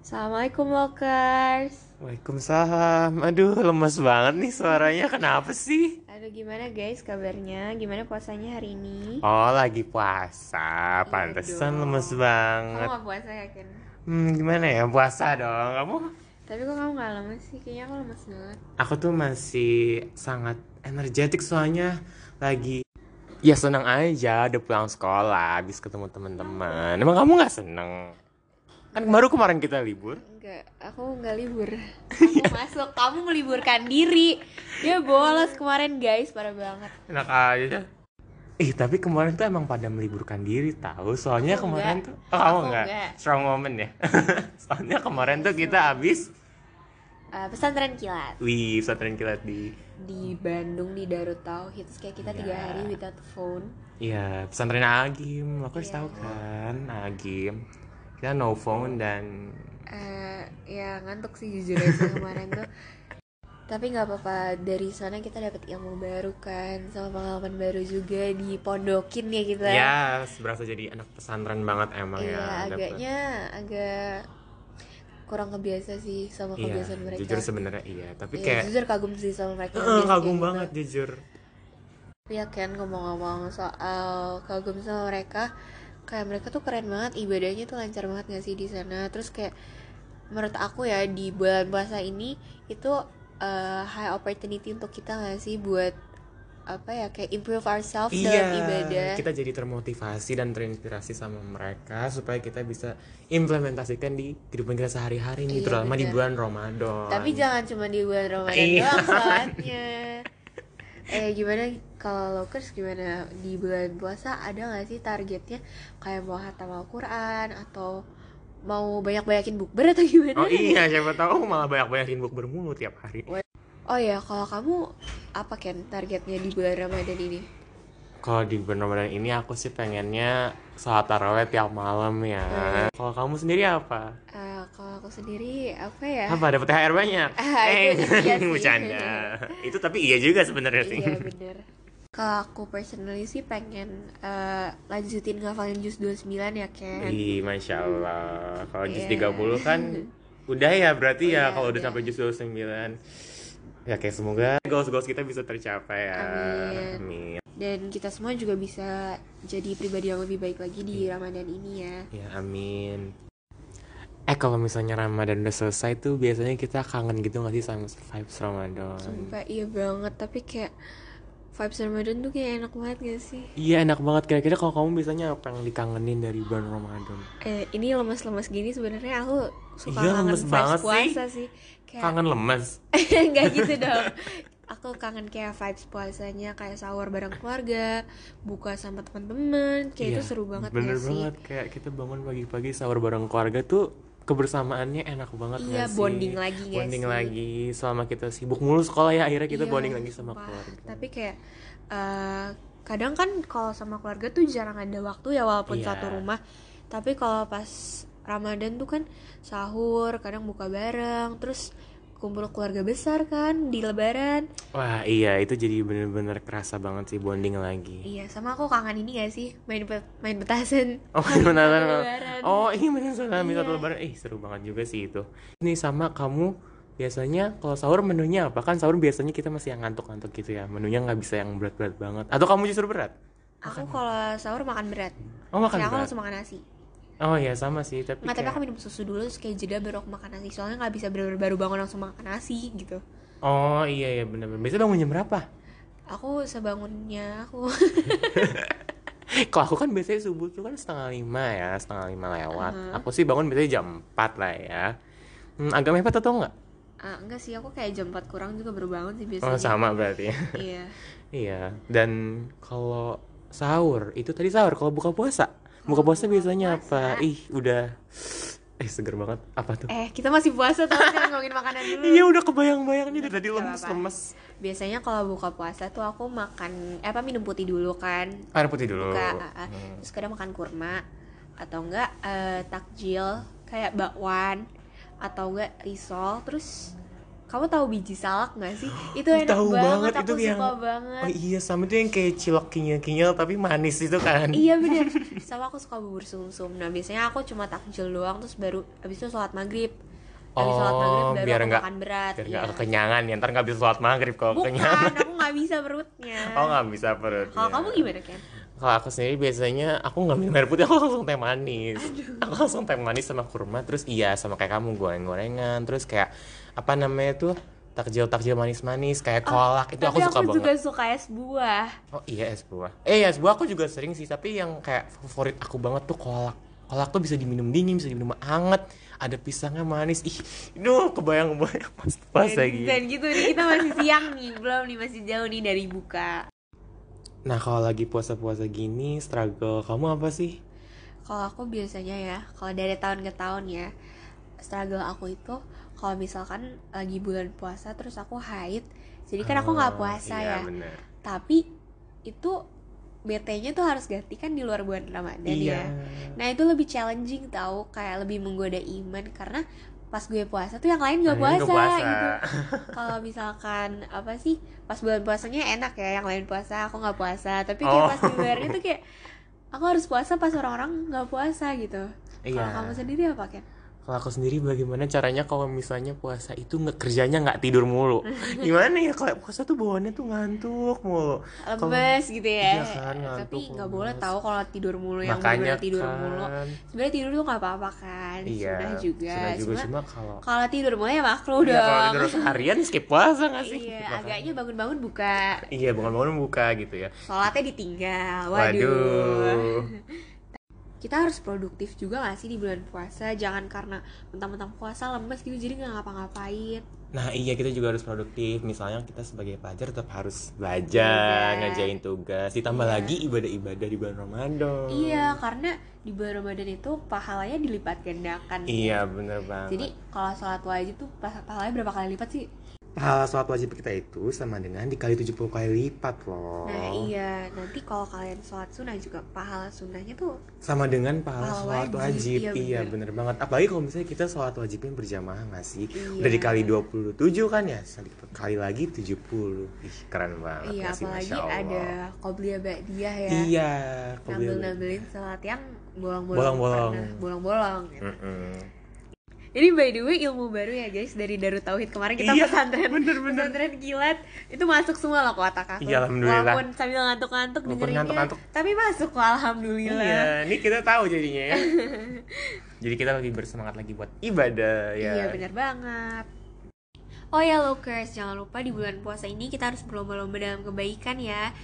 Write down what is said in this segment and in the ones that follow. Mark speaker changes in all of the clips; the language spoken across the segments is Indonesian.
Speaker 1: Assalamualaikum Walkers
Speaker 2: Waalaikumsalam. Aduh, lemes banget nih suaranya. Kenapa sih?
Speaker 1: Aduh gimana guys kabarnya? Gimana puasanya hari ini?
Speaker 2: Oh, lagi puasa. Pantesan
Speaker 1: dong.
Speaker 2: lemes
Speaker 1: Kamu
Speaker 2: banget.
Speaker 1: gak puasa ya Ken?
Speaker 2: Hmm, gimana ya? Puasa dong. Kamu?
Speaker 1: Tapi kok kamu gak lemes sih? Kayaknya aku lemes banget
Speaker 2: Aku tuh masih sangat energetik soalnya lagi Ya seneng aja udah pulang sekolah habis ketemu teman-teman. Emang kamu nggak seneng? Kan baru kemarin kita libur.
Speaker 1: Enggak, aku nggak libur Aku masuk, kamu meliburkan diri Ya bolos kemarin guys, parah banget
Speaker 2: Enak aja. Ih, tapi kemarin tuh emang pada meliburkan diri tahu. Soalnya
Speaker 1: Aku
Speaker 2: kemarin
Speaker 1: enggak.
Speaker 2: tuh oh, kamu
Speaker 1: Aku
Speaker 2: enggak.
Speaker 1: enggak.
Speaker 2: Strong moment ya. Soalnya kemarin tuh kita habis
Speaker 1: Eh, Pesantren kilat
Speaker 2: wih pesantren kilat di
Speaker 1: Di Bandung, di Darut Tauhid Terus kayak kita tiga
Speaker 2: Iya.
Speaker 1: hari without phone
Speaker 2: Iya, pesantren Agim. Aku harus
Speaker 1: Iya.
Speaker 2: tahu kan, Agim. Kita no phone dan
Speaker 1: eh ya ngantuk sih jujur aja kemarin tuh tapi nggak apa-apa dari sana kita dapat ilmu baru kan sama pengalaman baru juga di pondokin ya kita
Speaker 2: ya berasa jadi anak pesantren banget emang
Speaker 1: Iya,
Speaker 2: ya. dapet.
Speaker 1: agaknya agak kurang kebiasa sih sama
Speaker 2: Iya,
Speaker 1: kebiasaan mereka
Speaker 2: jujur sebenarnya iya, tapi
Speaker 1: Iya,
Speaker 2: kayak
Speaker 1: jujur kagum sih sama mereka
Speaker 2: eh,
Speaker 1: biasanya
Speaker 2: kagum
Speaker 1: gitu.
Speaker 2: banget jujur.
Speaker 1: Iya kan ngomong-ngomong soal kagum sama mereka kayak mereka tuh keren banget ibadahnya tuh lancar banget gak sih di sana terus kayak menurut aku ya di bulan puasa ini itu eh, high opportunity untuk kita gak sih buat apa ya kayak improve ourselves dalam ibadah
Speaker 2: Iya, kita jadi termotivasi dan terinspirasi sama mereka supaya kita bisa implementasikan di kehidupan kita sehari-hari nih
Speaker 1: Iya,
Speaker 2: terutama di
Speaker 1: bener.
Speaker 2: bulan Ramadan.
Speaker 1: tapi jangan cuma di bulan Ramadan
Speaker 2: Iya.
Speaker 1: doang sholatnya eh gimana kalau lokers gimana di bulan puasa ada gak sih targetnya kayak mau hatam Al-Quran atau mau banyak-banyakin bukber atau gimana
Speaker 2: Oh iya, siapa tahu malah banyak-banyakin bukber mulu tiap hari.
Speaker 1: Oh ya, kalau kamu apa Ken targetnya di bulan Ramadan ini?
Speaker 2: Kalau di bulan Ramadan ini aku sih pengennya sholat taraweh tiap malam ya.
Speaker 1: Hmm.
Speaker 2: Kalau kamu sendiri apa?
Speaker 1: Eh, kalau aku sendiri apa ya?
Speaker 2: Apa dapat THR banyak? Eh,
Speaker 1: Ah, itu iya sih.
Speaker 2: bercanda. itu tapi iya juga sebenarnya sih.
Speaker 1: Iya bener Kalau aku personally sih pengen eh, lanjutin ngafalin jus 29 ya Ken
Speaker 2: Ih, masya Allah. Kalau jus
Speaker 1: Iya.
Speaker 2: 30 kan udah ya
Speaker 1: Udah,
Speaker 2: berarti ya kalau
Speaker 1: udah.
Speaker 2: udah sampai jus 29. Ya kayak semoga goals-goals kita bisa tercapai ya.
Speaker 1: Amin.
Speaker 2: Amin.
Speaker 1: Dan kita semua juga bisa jadi pribadi yang lebih baik lagi di
Speaker 2: Iya.
Speaker 1: Ramadan ini ya
Speaker 2: Ya amin. Eh kalau misalnya Ramadan udah selesai tuh biasanya kita kangen gitu nggak sih sama vibes Ramadan?
Speaker 1: Sumpah iya banget, tapi kayak vibes Ramadan tuh kayak enak banget gak sih?
Speaker 2: Iya enak banget kira-kira kalau kamu biasanya apa yang dikangenin dari bulan Ramadan?
Speaker 1: Eh, ini lemas-lemas gini sebenarnya aku suka
Speaker 2: Iya,
Speaker 1: kangen
Speaker 2: lemes
Speaker 1: vibes
Speaker 2: banget sih.
Speaker 1: puasa sih, Kayak
Speaker 2: Kangen lemes.
Speaker 1: Enggak gitu dong Aku kangen kayak vibes puasanya Kayak sahur bareng keluarga Buka sama teman-teman Kayak itu
Speaker 2: Iya,
Speaker 1: seru banget
Speaker 2: Bener
Speaker 1: gak sih?
Speaker 2: banget kayak kita bangun pagi-pagi sahur bareng keluarga tuh kebersamaannya enak banget
Speaker 1: Iya,
Speaker 2: nggak sih?
Speaker 1: bonding lagi nggak
Speaker 2: Bonding
Speaker 1: sih?
Speaker 2: lagi selama kita sibuk mulu sekolah ya akhirnya kita
Speaker 1: Iya,
Speaker 2: bonding lagi sama
Speaker 1: sumpah.
Speaker 2: keluarga.
Speaker 1: Tapi kayak eh, Kadang kan kalau sama keluarga tuh jarang ada waktu ya Walaupun
Speaker 2: Iya.
Speaker 1: satu rumah Tapi kalau pas Ramadan tuh kan Sahur, kadang buka bareng Terus kumpul keluarga besar kan Di lebaran
Speaker 2: Wah iya itu jadi bener-bener kerasa banget sih bonding lagi.
Speaker 1: Iya sama aku kangen ini gak sih Main, pe- main petasan
Speaker 2: Oh, penasaran.
Speaker 1: Lebaran.
Speaker 2: Oh, ini benar saudara minta
Speaker 1: Iya.
Speaker 2: lebaran. Ih, seru banget juga sih itu. Ini sama kamu biasanya kalau sahur menunya apa? Kan sahur biasanya kita masih yang ngantuk-ngantuk gitu ya. Menunya nggak bisa yang berat-berat banget. Atau kamu justru berat?
Speaker 1: Aku kalau sahur makan berat.
Speaker 2: Oh, makan
Speaker 1: Kayak Iya, aku
Speaker 2: berat.
Speaker 1: langsung makan nasi.
Speaker 2: Oh iya, sama sih, tapi
Speaker 1: Nggak, tapi
Speaker 2: kayak-
Speaker 1: aku minum susu dulu terus kayak jeda baru aku makan nasi. Soalnya nggak bisa baru, baru bangun langsung makan nasi gitu.
Speaker 2: Oh, iya ya benar-benar. Biasanya bangun jam berapa?
Speaker 1: Aku sebangunnya aku
Speaker 2: kalau aku kan biasanya subuh tuh kan setengah lima ya, setengah lima lewat. Aku sih bangun biasanya jam 4 lah ya. Hmm, agak mepet atau enggak?
Speaker 1: Ah, enggak sih, aku kayak jam 4 kurang juga baru bangun sih
Speaker 2: Oh,
Speaker 1: biasanya.
Speaker 2: sama berarti.
Speaker 1: Iya.
Speaker 2: Iya, dan kalau sahur itu tadi sahur, kalau buka puasa, buka puasa biasanya apa? Ih, udah eh seger banget. Apa tuh?
Speaker 1: Eh, kita masih puasa tapi jangan ngomongin makanan dulu.
Speaker 2: Iya, udah kebayang-bayang nih dari tadi
Speaker 1: Gak apa-apa.
Speaker 2: lemes-lemes.
Speaker 1: Biasanya kalau buka puasa tuh aku makan eh, apa minum putih dulu kan.
Speaker 2: Air putih dulu. Hmm.
Speaker 1: Buka, ah, ah. terus kadang makan kurma atau enggak eh, takjil kayak bakwan atau enggak risol terus kamu tahu biji salak nggak sih itu
Speaker 2: Ih,
Speaker 1: enak
Speaker 2: tahu
Speaker 1: banget,
Speaker 2: banget,
Speaker 1: aku
Speaker 2: itu yang-
Speaker 1: suka banget
Speaker 2: Oh iya, sama tuh yang kayak cilok kinyal-kinyal tapi manis itu kan.
Speaker 1: iya bener sama aku suka bubur sumsum nah biasanya aku cuma takjil doang terus baru abis itu sholat maghrib habis sholat maghrib
Speaker 2: Oh,
Speaker 1: baru
Speaker 2: biar
Speaker 1: aku
Speaker 2: nggak-
Speaker 1: makan berat
Speaker 2: biar
Speaker 1: iya.
Speaker 2: nggak kekenyangan ya ntar nggak bisa sholat maghrib kalau
Speaker 1: bukan
Speaker 2: kenyang
Speaker 1: aku nggak bisa perutnya
Speaker 2: oh iya. nggak bisa perutnya
Speaker 1: kalau kamu gimana kan
Speaker 2: kalau aku sendiri biasanya aku nggak minum air putih aku langsung teh manis aku langsung teh manis sama kurma terus iya sama kayak kamu goreng-gorengan terus kayak apa namanya tuh takjil-takjil manis-manis kayak kolak itu
Speaker 1: Oh, tapi
Speaker 2: aku suka
Speaker 1: aku
Speaker 2: banget
Speaker 1: juga suka es buah
Speaker 2: oh iya es buah eh ya es buah aku juga sering sih tapi yang kayak favorit aku banget tuh kolak kolak tuh bisa diminum dingin bisa diminum hangat ada pisangnya manis ih duh kebayang kebayang pas pas
Speaker 1: dan,
Speaker 2: lagi
Speaker 1: dan gitu nih kita masih siang nih belum nih masih jauh nih dari buka
Speaker 2: nah kalau lagi puasa-puasa gini struggle kamu apa sih
Speaker 1: kalau aku biasanya ya kalau dari tahun ke tahun ya struggle aku itu kalau misalkan lagi bulan puasa terus aku haid jadi kan aku nggak
Speaker 2: Oh,
Speaker 1: puasa ya
Speaker 2: iya, bener.
Speaker 1: tapi itu BT-nya tuh harus gantikan di luar bulan Ramadan
Speaker 2: iya
Speaker 1: ya. Nah itu lebih challenging tau, kayak lebih menggoda iman karena pas gue puasa tuh yang lain gak
Speaker 2: Nah, ini
Speaker 1: puasa,
Speaker 2: nggak
Speaker 1: gitu. Kalau misalkan apa sih pas bulan puasanya enak ya, yang lain puasa aku nggak puasa, tapi kayak
Speaker 2: Oh.
Speaker 1: pas di luarnya tuh kayak aku harus puasa pas orang-orang nggak puasa gitu.
Speaker 2: Iya.
Speaker 1: Kalau kamu sendiri apa Ken?
Speaker 2: Kalau aku sendiri bagaimana caranya kalau misalnya puasa itu nggak kerjanya nggak tidur mulu? Gimana ya kalau puasa tuh bawaannya tuh ngantuk mulu. Kalau-
Speaker 1: Lemes gitu ya.
Speaker 2: Iya kan,
Speaker 1: tapi
Speaker 2: ngantuk,
Speaker 1: nggak boleh
Speaker 2: lemes.
Speaker 1: tahu kalau tidur mulu yang
Speaker 2: Makanya
Speaker 1: bener-bener tidur
Speaker 2: kan,
Speaker 1: mulu. Sebenarnya tidur tuh nggak apa-apa kan,
Speaker 2: Iya.
Speaker 1: sunnah juga.
Speaker 2: Sunnah juga
Speaker 1: Cuma
Speaker 2: cuma kalau
Speaker 1: kalau tidur mulu ya makruh
Speaker 2: Iya, kalau
Speaker 1: dong.
Speaker 2: tidur harian skip puasa nggak sih?
Speaker 1: Iya,
Speaker 2: Makanya.
Speaker 1: agaknya bangun-bangun buka.
Speaker 2: Iya, bangun-bangun buka gitu ya.
Speaker 1: Sholatnya ditinggal. Waduh.
Speaker 2: Waduh.
Speaker 1: Kita harus produktif juga gak sih di bulan puasa? Jangan karena mentang-mentang puasa lemes gitu jadi nggak ngapa-ngapain.
Speaker 2: Nah iya kita juga harus produktif Misalnya kita sebagai pelajar tetap harus
Speaker 1: Belajar.
Speaker 2: belajar Ngerjain tugas Ditambah
Speaker 1: Iya.
Speaker 2: lagi ibadah-ibadah di bulan Ramadan
Speaker 1: Iya, karena di bulan Ramadan itu pahalanya dilipat gandakan.
Speaker 2: Iya bener banget
Speaker 1: Jadi kalau sholat wajib tuh pa- pahalanya berapa kali lipat sih?
Speaker 2: Pahala sholat wajib kita itu sama dengan dikali 70 kali lipat loh.
Speaker 1: Nah iya, nanti kalau kalian sholat sunnah juga pahala sunnahnya tuh
Speaker 2: Sama dengan pahala
Speaker 1: Pahala
Speaker 2: sholat
Speaker 1: wajib,
Speaker 2: wajib.
Speaker 1: iya
Speaker 2: Iya,
Speaker 1: bener.
Speaker 2: bener banget. Apalagi kalau misalnya kita sholat wajibnya berjamaah nggak sih?
Speaker 1: Iya.
Speaker 2: Udah dikali 27 kan ya? Sekali- Kali lagi 70. Ih, keren banget
Speaker 1: iya
Speaker 2: nggak sih?
Speaker 1: apalagi
Speaker 2: Masya Allah.
Speaker 1: ada qobliyah ba'diyah ya.
Speaker 2: Iya, kalau
Speaker 1: Ngambil
Speaker 2: boleh.
Speaker 1: ngambilin sholat yang bolong-bolong
Speaker 2: Bolong-bolong. Hmm.
Speaker 1: karena- bolong-bolong gitu.
Speaker 2: Mm-mm.
Speaker 1: Jadi by the way ilmu baru ya guys dari Darut Tauhid kemarin kita
Speaker 2: Iya,
Speaker 1: pesantren
Speaker 2: bener-bener.
Speaker 1: pesantren kilat itu masuk semua loh ke otak aku.
Speaker 2: Iya, alhamdulillah.
Speaker 1: Walaupun sambil ngantuk-ngantuk
Speaker 2: Walaupun
Speaker 1: dengerinnya,
Speaker 2: ngantuk-ngantuk.
Speaker 1: tapi masuk kok alhamdulillah.
Speaker 2: Iya, ini kita tahu jadinya ya. Jadi kita lebih bersemangat lagi buat ibadah ya.
Speaker 1: Iya benar banget. Oh ya Lokers, jangan lupa di bulan puasa ini kita harus berlomba-lomba dalam kebaikan ya.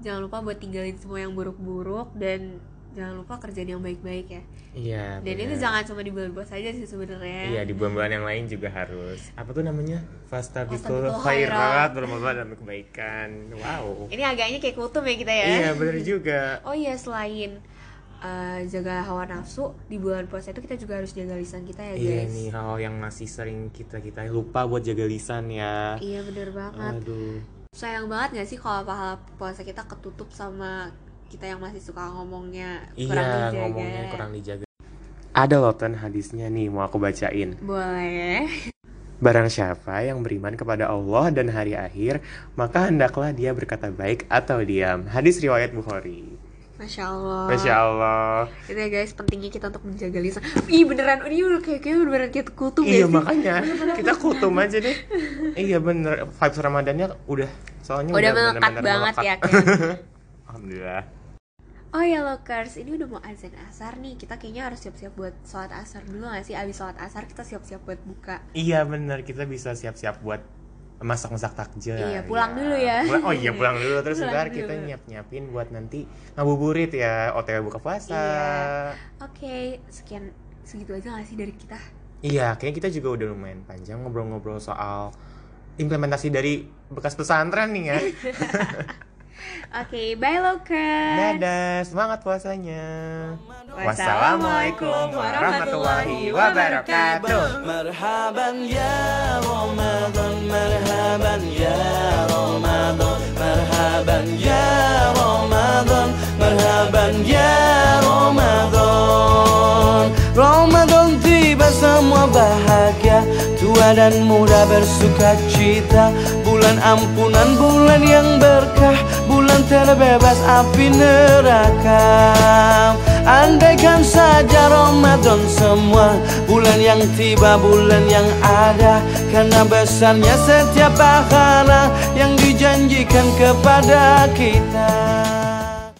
Speaker 1: Jangan lupa buat tinggalin semua yang buruk-buruk dan jangan lupa kerjaan yang baik-baik ya.
Speaker 2: Iya,
Speaker 1: Dan itu
Speaker 2: bener.
Speaker 1: jangan cuma di bulan puasa aja sih sebenarnya.
Speaker 2: Iya di bulan-bulan yang lain juga harus apa tuh namanya
Speaker 1: Fastabiqul
Speaker 2: fastabiqul
Speaker 1: khairat.
Speaker 2: khairat berlomba dalam kebaikan wow
Speaker 1: Ini agaknya kayak kutum ya kita ya.
Speaker 2: iya bener juga
Speaker 1: Oh iya selain uh, jaga hawa nafsu di bulan puasa itu kita juga harus jaga lisan kita ya
Speaker 2: iya
Speaker 1: guys.
Speaker 2: nih hal yang masih sering kita kita lupa buat jaga lisan ya
Speaker 1: Iya bener banget.
Speaker 2: aduh
Speaker 1: Sayang banget gak sih kalau pahala puasa kita ketutup sama kita yang masih suka ngomongnya kurang
Speaker 2: iya
Speaker 1: dijaga.
Speaker 2: ngomongnya kurang dijaga ada loh Tan, hadisnya nih mau aku bacain
Speaker 1: Boleh.
Speaker 2: Barang siapa yang beriman kepada Allah dan hari akhir, maka hendaklah dia berkata baik atau diam. Hadis riwayat Bukhari.
Speaker 1: Masya Allah.
Speaker 2: Masya Allah.
Speaker 1: Itu ya guys pentingnya kita untuk menjaga lisan. Ih beneran ini udah kayak kayak beneran kita kutum
Speaker 2: Iya
Speaker 1: ya sih?
Speaker 2: makanya kita kutum aja deh. Iya bener vibes Ramadannya udah soalnya
Speaker 1: Udah
Speaker 2: bener-bener
Speaker 1: melekat banget
Speaker 2: melekat.
Speaker 1: ya Ken.
Speaker 2: Alhamdulillah.
Speaker 1: Oh ya lokers, ini udah mau azan asar nih. Kita kayaknya harus siap-siap buat sholat asar dulu gak sih? Abis sholat asar kita siap-siap buat buka.
Speaker 2: Iya bener kita bisa siap-siap buat masak-masak takjil.
Speaker 1: Iya, pulang dulu ya.
Speaker 2: Pulang- Oh iya pulang dulu terus
Speaker 1: Pulang
Speaker 2: ntar
Speaker 1: dulu.
Speaker 2: kita nyiap-nyiapin buat nanti ngabuburit ya OTW buka puasa.
Speaker 1: Iya. Oke, sekian segitu aja gak sih dari kita?
Speaker 2: Iya, kayaknya kita juga udah lumayan panjang ngobrol-ngobrol soal implementasi dari bekas pesantren nih ya.
Speaker 1: Oke, bye lokers.
Speaker 2: Dadah, semangat puasanya.
Speaker 1: Wassalamualaikum warahmatullahi wabarakatuh.
Speaker 3: مرحبا يا رمضان مرحبا يا رمضان مرحبا يا رمضان مرحبا يا رمضان رمضان tiba semua bahagia tua dan muda bersuka cita bulan ampunan bulan yang berkah bulan terbebas api neraka Andaikan saja Ramadan semua Bulan yang yang tiba bulan yang ada Karena besarnya setiap pahala yang dijanjikan kepada kita